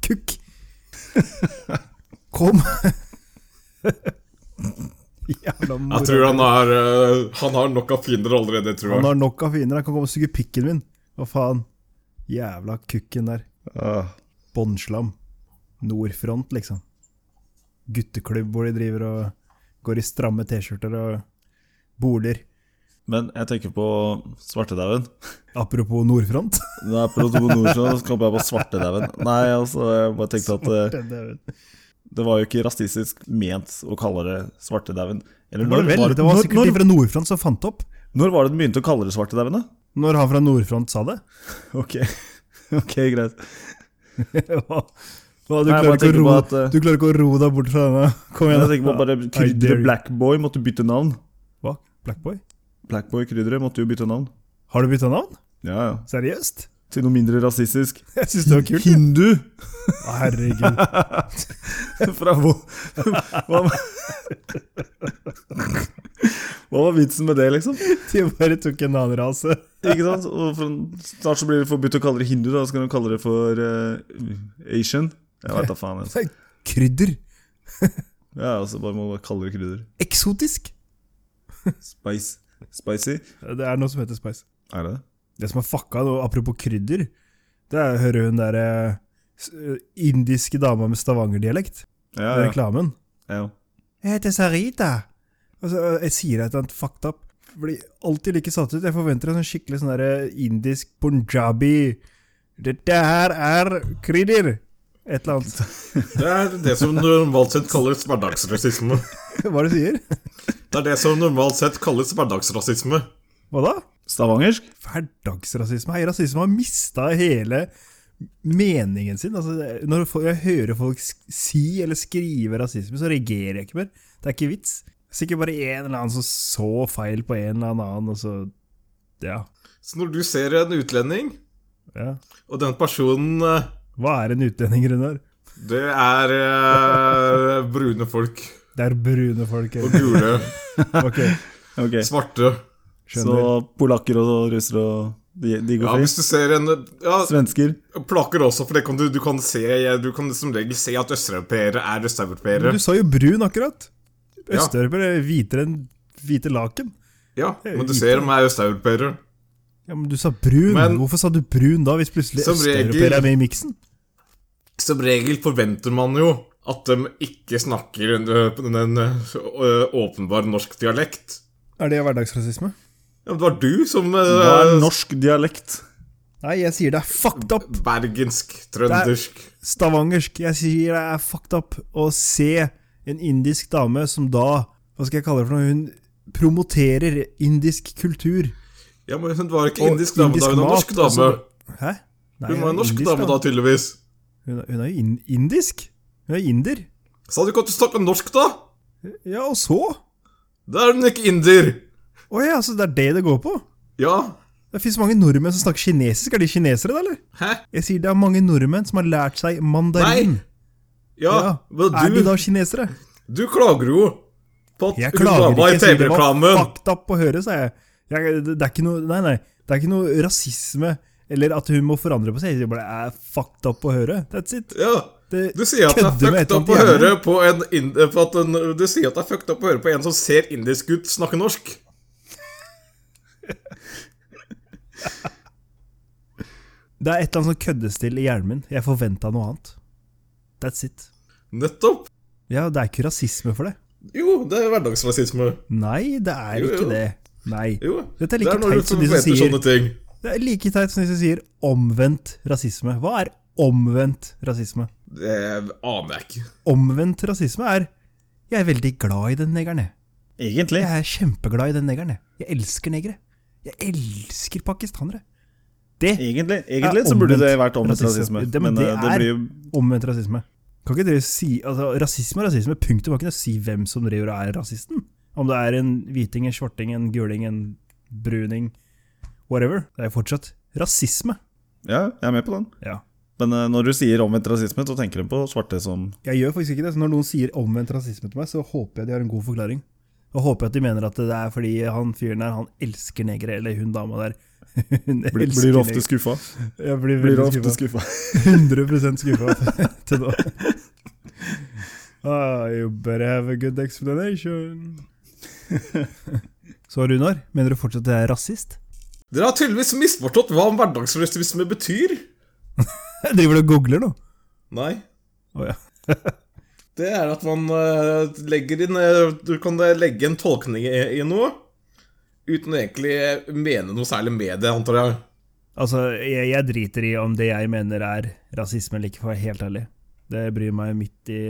S2: Kukk. Kom. Jævla moro.
S3: Jeg tror han har, eh, han har nok av fiender allerede, tror
S2: Han
S3: jeg.
S2: har nok av fiender. Han kan komme og suge pikken min. Hva faen? Jævla kukken der.
S1: Ah,
S2: Båndslam. Nordfront, liksom. Gutteklubb hvor de driver og går i stramme T-skjorter og boliger.
S1: Men jeg tenker på svartedauden.
S2: Apropos nordfront.
S1: Når jeg er på Nordstrand, så kom jeg på svartedauden. Nei, altså, jeg bare tenkte at eh,
S2: Det er-
S1: det var jo ikke rasistisk ment å kalle det svartedauden. Eller
S2: Var det, vel? det var
S1: når,
S2: sikkert de
S1: når,
S2: fra Nordfront som fant det opp.
S1: når var det den begynte å kalle det svartedauden, da?
S2: Når han fra Nordfront sa det.
S1: Ok, ok, greit.
S2: Hva, du,
S1: Nei, jeg
S2: klarer ikke å
S1: bare tenker
S2: ro,
S1: på at, eh,
S2: du klarer ikke å ro deg bort fra denne. Kom
S1: Men
S2: igjen.
S1: jeg tenker på bare krydderet Blackboy måtte bytte navn.
S2: Hva? Blackboy?
S1: Blackboy-krydderet måtte jo bytte navn.
S2: Har du bytta navn?
S1: Ja, ja.
S2: Seriøst?
S1: Til noe mindre rasistisk.
S2: Jeg syns det var kult.
S1: Hindu!
S2: Å, Herregud.
S1: Fra hvor Hva var Hva var vitsen med det, liksom?
S2: De bare tok en annen rase.
S1: Ikke sant? Og for, snart så blir det forbudt å kalle det hindu, da. Så kan du kalle det for eh, asian. Jeg vet da faen. Altså.
S2: Så er Krydder.
S1: Ja, altså bare må bare kalle det krydder.
S2: Eksotisk.
S1: Spice. Spicy.
S2: Det er noe som heter Spice.
S1: Er det det?
S2: Det som er fucka, nå, apropos krydder, det er å høre hun derre eh, indiske dama med stavangerdialekt.
S1: Ja,
S2: i
S1: ja.
S2: Reklamen.
S1: ja.
S2: Jeg heter Sarita. Og så, jeg sier et eller annet fucked up. Blir alltid like satt ut. Jeg forventer en sånn skikkelig sånn der indisk punjabi. Dette her er krydder! Et eller annet.
S3: Det er det som normalt sett kalles hverdagsrasisme.
S2: Hva er det du sier?
S3: Det er det som normalt sett kalles hverdagsrasisme.
S2: Hva da?
S1: Stavangersk?
S2: Hverdagsrasisme. Hei, rasisme har mista hele meningen sin. Altså, det- når fo- jeg hører folk sk- si eller skrive rasisme, så reagerer jeg ikke mer. Det er ikke vits. Sikkert bare en eller annen som så feil på en eller annen, og så Ja.
S3: Så når du ser en utlending,
S2: ja.
S3: og den personen eh,
S2: Hva er en utlending, Runar?
S3: Det er eh, brune folk.
S2: Det er brune folk.
S3: Og
S2: eller?
S3: gule.
S2: Ok,
S1: Ok.
S3: Svarte.
S1: Så
S2: skjønner.
S1: polakker og russere og De, de
S3: Ja,
S1: går fri.
S3: hvis du ser en ja,
S1: Svensker.
S3: Plaker også, for det kan du, du, kan se, du kan som regel se at østeuropeere er østeuropeere.
S2: Men du sa jo brun akkurat.
S3: Ja.
S2: Østeuropeere er hvitere enn hvite laken.
S3: Ja,
S2: er jo
S3: men du
S2: hvite.
S3: ser de er østeuropeere.
S2: Ja, Men du sa brun.
S3: Men-
S2: Hvorfor sa du brun da, hvis plutselig
S3: Som regel-
S2: østeuropeere er med i miksen?
S3: Som regel forventer man jo at de ikke snakker en, en, en ø, øh, åpenbar norsk dialekt.
S2: Er det hverdagsrasisme?
S3: Ja, men det var du som øh, ø,
S1: Hva er norsk dialekt?
S2: Nei, jeg sier det er fucked up.
S3: Bergensk, trøndersk
S2: Stavangersk. Jeg sier det er fucked up å se en indisk dame som da Hva skal jeg kalle det for noe? Hun promoterer indisk kultur.
S3: Ja, men hun var ikke
S2: Og
S3: indisk dame da, hun var
S2: mat,
S3: norsk dame.
S2: altså. Hæ? Nei,
S3: Hun var en norsk
S2: indisk,
S3: dame da, tydeligvis.
S2: Hun er, hun er jo in indisk. Hun er inder.
S3: Sa du ikke at du snakka norsk, da?
S2: Ja, og så? Å
S3: Da er hun ikke inder.
S2: ja, så det er det det går på?
S3: Ja.
S2: Det fins mange nordmenn som snakker kinesisk. Er de kinesere, da, eller?
S3: Hæ?
S2: Jeg sier det er mange nordmenn som har lært seg
S3: Nei.
S2: mandarin.
S3: Ja, men
S2: Er
S3: du
S2: de da kinesere?
S3: Du klager jo på at
S2: Jeg
S3: hun
S2: klager
S3: dama
S2: ikke.
S3: i
S2: Jeg sier det var
S3: TV-reklamen
S2: fucked up å høre, sa jeg. jeg det, det er ikke noe Nei, nei. Det er ikke noe rasisme eller at hun må forandre på seg. Jeg sier bare det er fucked up å høre. That's it.
S3: Ja,
S2: Det
S3: du sier at det er
S2: kødder med et
S3: fucked
S2: eller
S3: up å
S2: annet
S3: høre
S2: jævlig.
S3: på en, ind- på at en Du sier at det er fucked up å høre på en som ser indisk ut, snakke norsk.
S2: Det er et eller annet som køddes til i hjernen min. Jeg forventa noe annet. That's it.
S3: Nettopp.
S2: Ja, det er ikke rasisme for det.
S3: Jo, det er hverdagsrasisme.
S2: Nei, det er
S3: Jo,
S2: ikke
S3: jo.
S2: det. Nei.
S3: Jo.
S2: Dette er like
S3: det er når
S2: teit
S3: du
S2: som de som
S3: forventer
S2: sier-
S3: sånne ting.
S2: Det er like teit som de som sier omvendt rasisme. Hva er omvendt rasisme?
S3: Det aner jeg ikke.
S2: Omvendt rasisme er Jeg er veldig glad i den negeren, jeg.
S1: Egentlig.
S2: Jeg er kjempeglad i den negeren, jeg. Jeg elsker negere. Jeg elsker pakistanere. Det er
S1: Egentlig, egentlig så burde det vært omvendt rasisme.
S2: Det, men, det,
S1: eh, det
S2: er
S1: blir jo
S2: omvendt rasisme. Kan ikke dere si altså, Rasisme er rasisme, punktum. Kan ikke dere si hvem som driver og er rasisten? Om det er en hviting, en svarting, en guling, en bruning, whatever. Det er fortsatt rasisme.
S1: Ja, jeg er med på den.
S2: Ja.
S1: Men eh, når du sier omvendt rasisme, så tenker de på svarte som
S2: Jeg gjør faktisk ikke det, så når noen sier omvendt rasisme til meg, så håper jeg de har en god forklaring. Og håper jeg at de mener at det er fordi han fyren der, han elsker negere, eller hun dama der. Hun
S1: blir,
S2: elsker
S1: blir
S2: negre.
S1: ofte skuffa.
S2: Jeg blir
S1: Blir
S2: veldig
S1: ofte
S2: skuffa.
S1: skuffa.
S2: 100 skuffa til nå. Ah, you better have a good explanation. så Runar, mener du fortsatt at jeg er rasist?
S3: Dere har tydeligvis misforstått hva hverdagsrasisme betyr.
S2: Jeg driver du og googler nå?
S3: Nei.
S2: Å ja.
S3: Det er at man eh, legger inn eh, Du kan eh, legge en tolkning i, i noe uten å egentlig eh, mene noe særlig med det, antar jeg.
S2: Altså, jeg, jeg driter i om det jeg mener er rasisme eller ikke, for å være helt ærlig. Det bryr meg midt i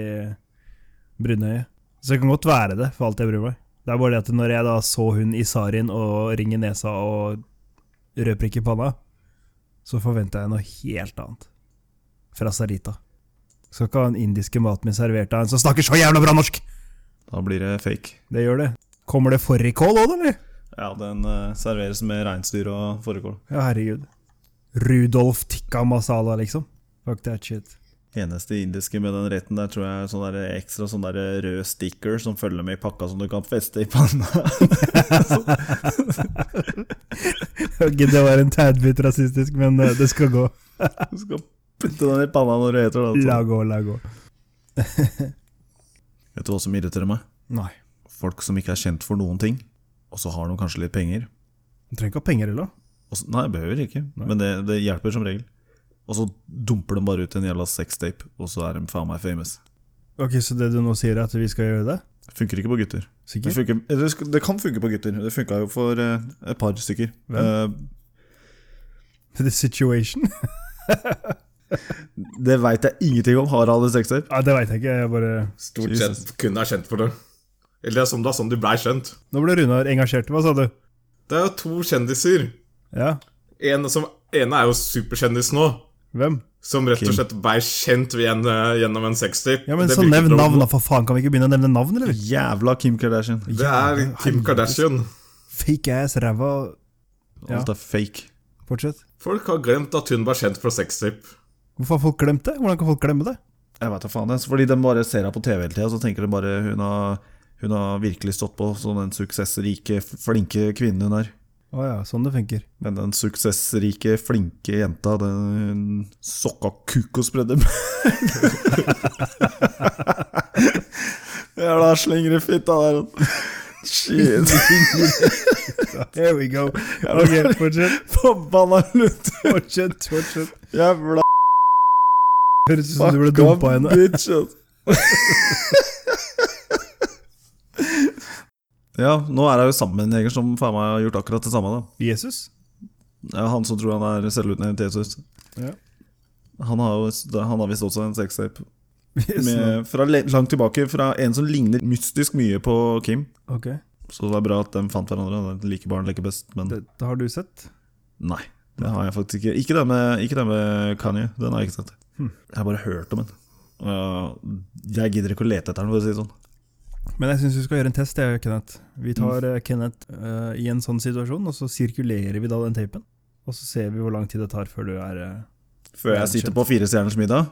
S2: brunøyet. Så det kan godt være det, for alt jeg bryr meg. Det er bare det at når jeg da så hun i sarien og ring i nesa og rødprikk i panna, så forventa jeg noe helt annet. Fra Sarita. Skal ikke ha den indiske maten min servert av en som snakker så jævla bra norsk!
S1: Da blir det fake.
S2: Det gjør det. Kommer det fårikål òg, eller?
S1: Ja, den eh, serveres med reinsdyr og fårikål.
S2: Ja, herregud. Rudolf tikka masala, liksom. Fuck that shit.
S1: Eneste indiske med den retten der tror jeg er sånn der ekstra sånn der rød sticker som følger med i pakka som du kan feste i panna.
S2: Ok, det var en tad bit rasistisk, men eh, det skal gå.
S1: Du skal putte den i panna når du heter det.
S2: La
S1: Altså.
S2: gå, la gå.
S1: Vet du hva som irriterer meg?
S2: Nei.
S1: Folk som ikke er kjent for noen ting, og så har de kanskje litt penger.
S2: Du trenger ikke ha penger heller.
S1: Og så, nei, behøver ikke, men det, det hjelper som regel. Og så dumper de bare ut en jævla sextape, og så er de faen meg famous.
S2: Ok, Så det du nå sier, er at vi skal gjøre det?
S1: Funker ikke på gutter. Det,
S2: Sikkert?
S1: funker, eller det sk- det kan funke på gutter. Det funka jo for eh, et par stykker.
S2: The situation?
S1: Eh, det veit jeg ingenting om. Har alle sextape?
S2: ja, Det veit jeg ikke. jeg bare...
S3: Stort
S1: Jesus.
S3: sett kun er kjent for det. Eller det er sånn, det er sånn de blei kjent.
S2: Nå ble Runar engasjert. Hva sa du?
S3: Det er jo to kjendiser.
S2: Ja,
S3: En som, ene er jo superkjendis nå,
S2: Hvem?
S3: som rett
S1: Kim.
S3: og slett blei kjent ved en, eh, gjennom en sextape.
S2: Ja, men
S3: Det
S2: Så
S3: virker
S2: nevn
S3: bra.
S2: navn, da, for faen. Kan vi ikke begynne å nevne navn, eller?
S1: Jævla Kim Kardashian.
S3: Det er Kim Kardashian.
S2: Fake ass, ræva Ja.
S1: Alt er fake.
S2: Fortsett.
S3: Folk har glemt at hun ble kjent fra sextape.
S2: Hvorfor har folk glemt det? Hvordan kan folk glemme det?
S1: Jeg vet da faen. jeg. Fordi de bare ser henne på TV hele tida, så tenker de bare hun har, hun har virkelig stått på som den suksessrike, f- flinke kvinnen hun er.
S2: Å ja, sånn det funker.
S1: Men den suksessrike, flinke jenta, den sokka kuk og spredde Jævla slenger i fitta der. Shit.
S2: There we go. Ok, fortsett.
S1: Forbanna lutt.
S2: Fortsett, fortsett.
S1: Jævla
S2: Høres ut som du ble dumpa
S1: fucka
S2: henne.
S1: bitch. ass. ja, nå er jeg jo sammen med en jeger som faen meg har gjort akkurat det samme. da
S2: Jesus?
S1: Ja, han som tror han er selvutnevnt Jesus.
S2: Ja.
S1: Han har, jo- han har visst også en sextape.
S2: Yes,
S1: Med, fra le- langt tilbake fra en som ligner mystisk mye på Kim.
S2: ok.
S1: Så det er bra at de fant hverandre. det er Like barn leker best, men
S2: Dette har du sett?
S1: nei. Det har jeg faktisk ikke. Ikke den med, ikke den med Kanye. Den har jeg ikke sett.
S2: Hm.
S1: Jeg har bare hørt om den. Og Jeg gidder ikke å lete etter den, for å si det sånn.
S2: Men jeg syns vi skal gjøre en test, jeg og Kenneth. Vi tar eh, Kenneth eh, i en sånn situasjon, og så sirkulerer vi da den tapen. Og så ser vi hvor lang tid det tar før du er eh,
S1: Før
S2: Ja,
S1: jeg sitter
S2: shit.
S1: på Fire stjerners middag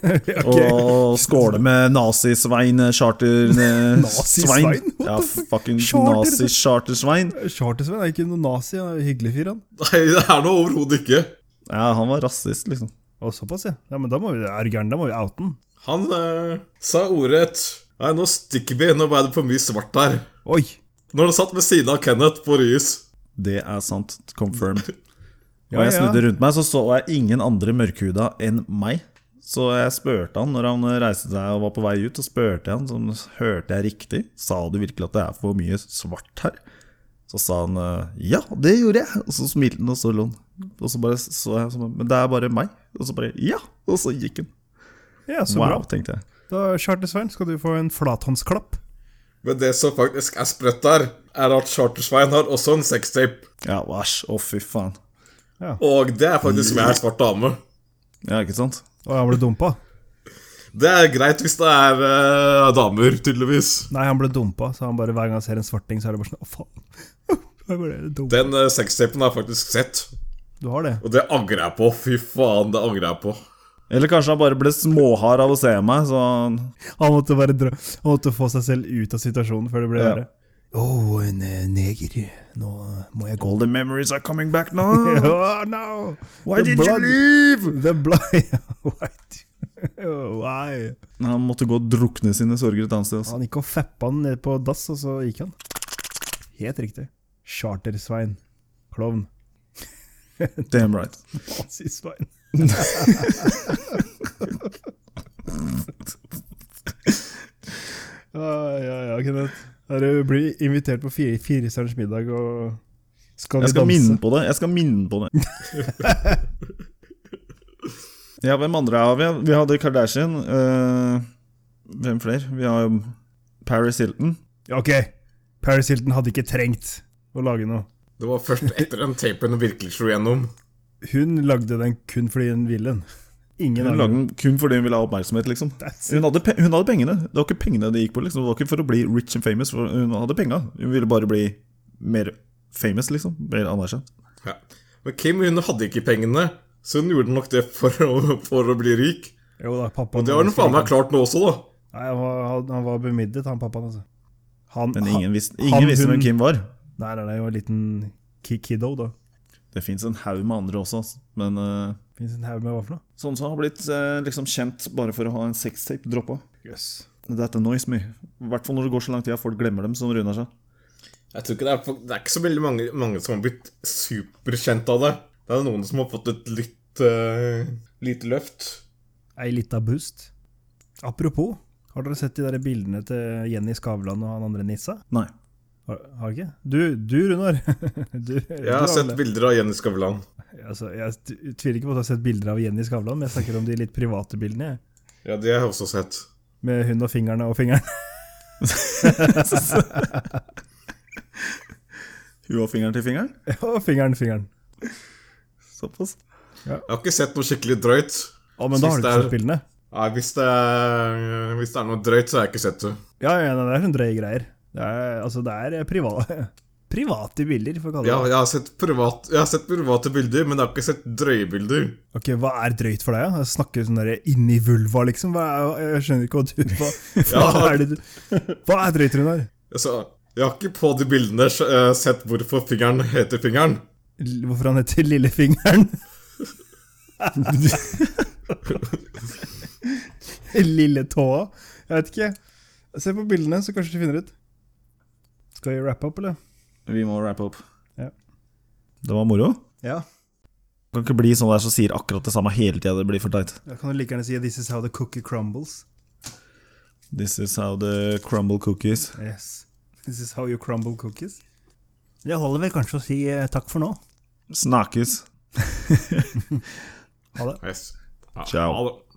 S2: eh,
S1: og skåler med Nazi-Svein eh, Charter eh,
S2: Nazi-Svein?
S1: Svein.
S2: What
S1: Ja,
S2: the fuck?
S1: fucking
S2: Charter-
S1: Nazi-Charter-Svein.
S2: Charter-Svein er ikke noen nazi, han er en hyggelig fyr, han.
S3: Nei, det er noe overhodet ikke.
S1: Ja, han var rasist, liksom.
S2: Og såpass, ja. ja. Men da må vi er du gæren, da må vi oute den.
S3: Han eh, sa ordrett Nei, nå stikker vi, nå ble det for mye svart her.
S2: Oi!
S3: Når han satt ved siden av Kenneth på Ryes.
S1: Det er sant. Confirmed.
S2: Ja,
S1: Og jeg
S2: ja.
S1: snudde rundt meg, så så jeg ingen andre mørkhuda enn meg. Så jeg spurte han når han reiste seg og var på vei ut, så spurte jeg han sånn, hørte jeg riktig. Sa du virkelig at det er for mye svart her? Så sa han eh, ja, det gjorde jeg. Og så smilte han og så lo han. Og så bare så jeg sånn, men det er bare meg. Og så bare ja. Og så gikk han.
S2: Ja, så
S1: Wow,
S2: bra.
S1: tenkte jeg.
S2: Da, Charter-Svein, skal du få en flathåndsklapp.
S3: Men det som faktisk er sprøtt der, er at Charter-Svein har også en sextape.
S1: Ja, æsj. Å, fy faen.
S3: Og det er faktisk med ei svart dame.
S1: Ja, ikke sant?
S2: Og han ble dumpa.
S3: Det er greit hvis det er eh, damer, tydeligvis.
S2: Nei, han ble dumpa, så han bare hver gang han ser en svarting, så er det bare sånn Å, faen. Jeg ble dumpa.
S3: Den eh, sextapen har jeg faktisk sett,
S2: Du har det?
S3: og det angrer jeg på. Fy faen, det angrer jeg på.
S1: Eller kanskje han bare ble småhard av å se meg, så han
S2: Han måtte, bare dra, han måtte få seg selv ut av situasjonen før det ble
S1: Ja.
S2: verre. Å, oh, en eh, neger. Nå må jeg gå.
S1: All the memories are coming back now.
S2: Oh, no!
S1: Why
S2: The
S1: did you
S2: blood-
S1: leave?
S2: The blind What? Why?
S1: Han måtte gå og drukne sine sorger et annet sted. Altså.
S2: Han gikk og fappa han ned på dass, og så gikk han. Helt riktig. Charter-Svein. Klovn.
S1: Damn right.
S2: Nazi-Svein. ja, Ah, ja, ja, Kenneth. Her eh, blir du invitert på fire- firestjerners middag og skal vi
S1: Jeg skal
S2: danse?
S1: minne på det. Jeg skal minne på det. ja, hvem andre har vi? Vi hadde Kardashian. eh, hvem flere? Vi har jo Paris Hilton.
S2: Ja, Ok, Paris Hilton hadde ikke trengt å lage noe.
S3: Det var først etter den tapen hun virkelig slo gjennom.
S2: Hun lagde den kun fordi hun ville den. Ingen
S1: Hun
S2: andre.
S1: lagde den kun fordi hun ville ha oppmerksomhet, liksom.
S2: That's it.
S1: Hun hadde, pe hun hadde pengene. Det var ikke pengene det gikk på. liksom Det var ikke for å bli rich and famous. For hun hadde penga. Hun ville bare bli mer famous, liksom. Mer anerkjent.
S3: Ja. Men Kim hun hadde ikke pengene, så hun gjorde nok det for å, for å bli rik.
S2: Jo da, pappa
S3: Og det har hun faen meg klart nå også, da.
S2: Nei, han var, han- han var bemidlet, han pappaen, altså. Han,
S1: Men ingen visste,
S2: han-
S1: ingen visste
S2: hun-
S1: hvem Kim var.
S2: Nei, nei, nei, han var en liten ki- kiddo, da.
S1: Det fins en haug med andre også, altså. men eh,
S2: Fins en haug med hva for noe?
S1: Sånn som har blitt eh, liksom kjent bare for å ha en sextape droppa.
S2: Yes.
S1: That annoys me. I hvert fall når det går så lang tid at folk glemmer dem, som Runar sa.
S3: Jeg tror ikke det, er, det er ikke så veldig mange, mange som har blitt superkjent av det. Det er noen som har fått et litt eh, lite løft.
S2: Ei lita boost. Apropos, har dere sett de der bildene til Jenny Skavlan og han andre Nissa?
S1: Nei.
S2: Har, har dere ikke? Du, du Runar. du,
S3: Jeg har sett bilder av Jenny Skavlan.
S2: Altså, jeg t- tviler ikke på at jeg har sett bilder av Jenny Skavlan, men jeg snakker om de litt private bildene. jeg.
S3: Ja, det har jeg også sett.
S2: Med hun og fingrene og fingeren.
S1: Hun har fingeren til fingeren?
S2: og fingeren, fingeren.
S1: Såpass.
S3: Jeg har ikke sett noe skikkelig drøyt.
S2: Å, men da har du
S3: Siste
S2: ikke
S3: er-
S2: sett bildene.
S3: Nei, hvis det, er, hvis det er noe drøyt, så har jeg ikke sett det.
S2: Ja, ja, nei, det er sånne drøye greier. Det er, altså, det er priva- private bilder, for å kalle
S3: Ja,
S2: det det.
S3: jeg har sett, privat, jeg har sett private bilder, men jeg har ikke sett drøye bilder.
S2: Ok, Hva er drøyt for deg? da? Jeg snakker sånn der inni vulva, liksom. Hva er, jeg skjønner ikke hva du Hva, hva,
S3: Ja.
S2: er, det, du- hva er drøyt, Runar?
S3: Altså, Jeg har ikke på de bildene eh, sett hvorfor fingeren heter fingeren.
S2: L- Hvorfor han heter Lillefingeren? Lilletåa? Jeg vet ikke. Se på bildene, så kanskje du finner ut. Skal vi wrappe opp, eller?
S1: Vi må wrap up.
S2: Ja.
S1: Det var moro.
S2: Ja.
S1: Kan ikke bli sånn der som sier akkurat det samme hele tida. Det blir for teit.
S2: Da kan du like gjerne si 'This is how the cookie crumbles'.
S1: This is how the crumble cookies.
S2: Yes. This is how you crumble cookies. Det holder vel kanskje å si eh, takk for nå.
S1: Snakkes.
S2: Ha det.
S3: Yes. Ja,
S1: Ciao.
S3: ha det.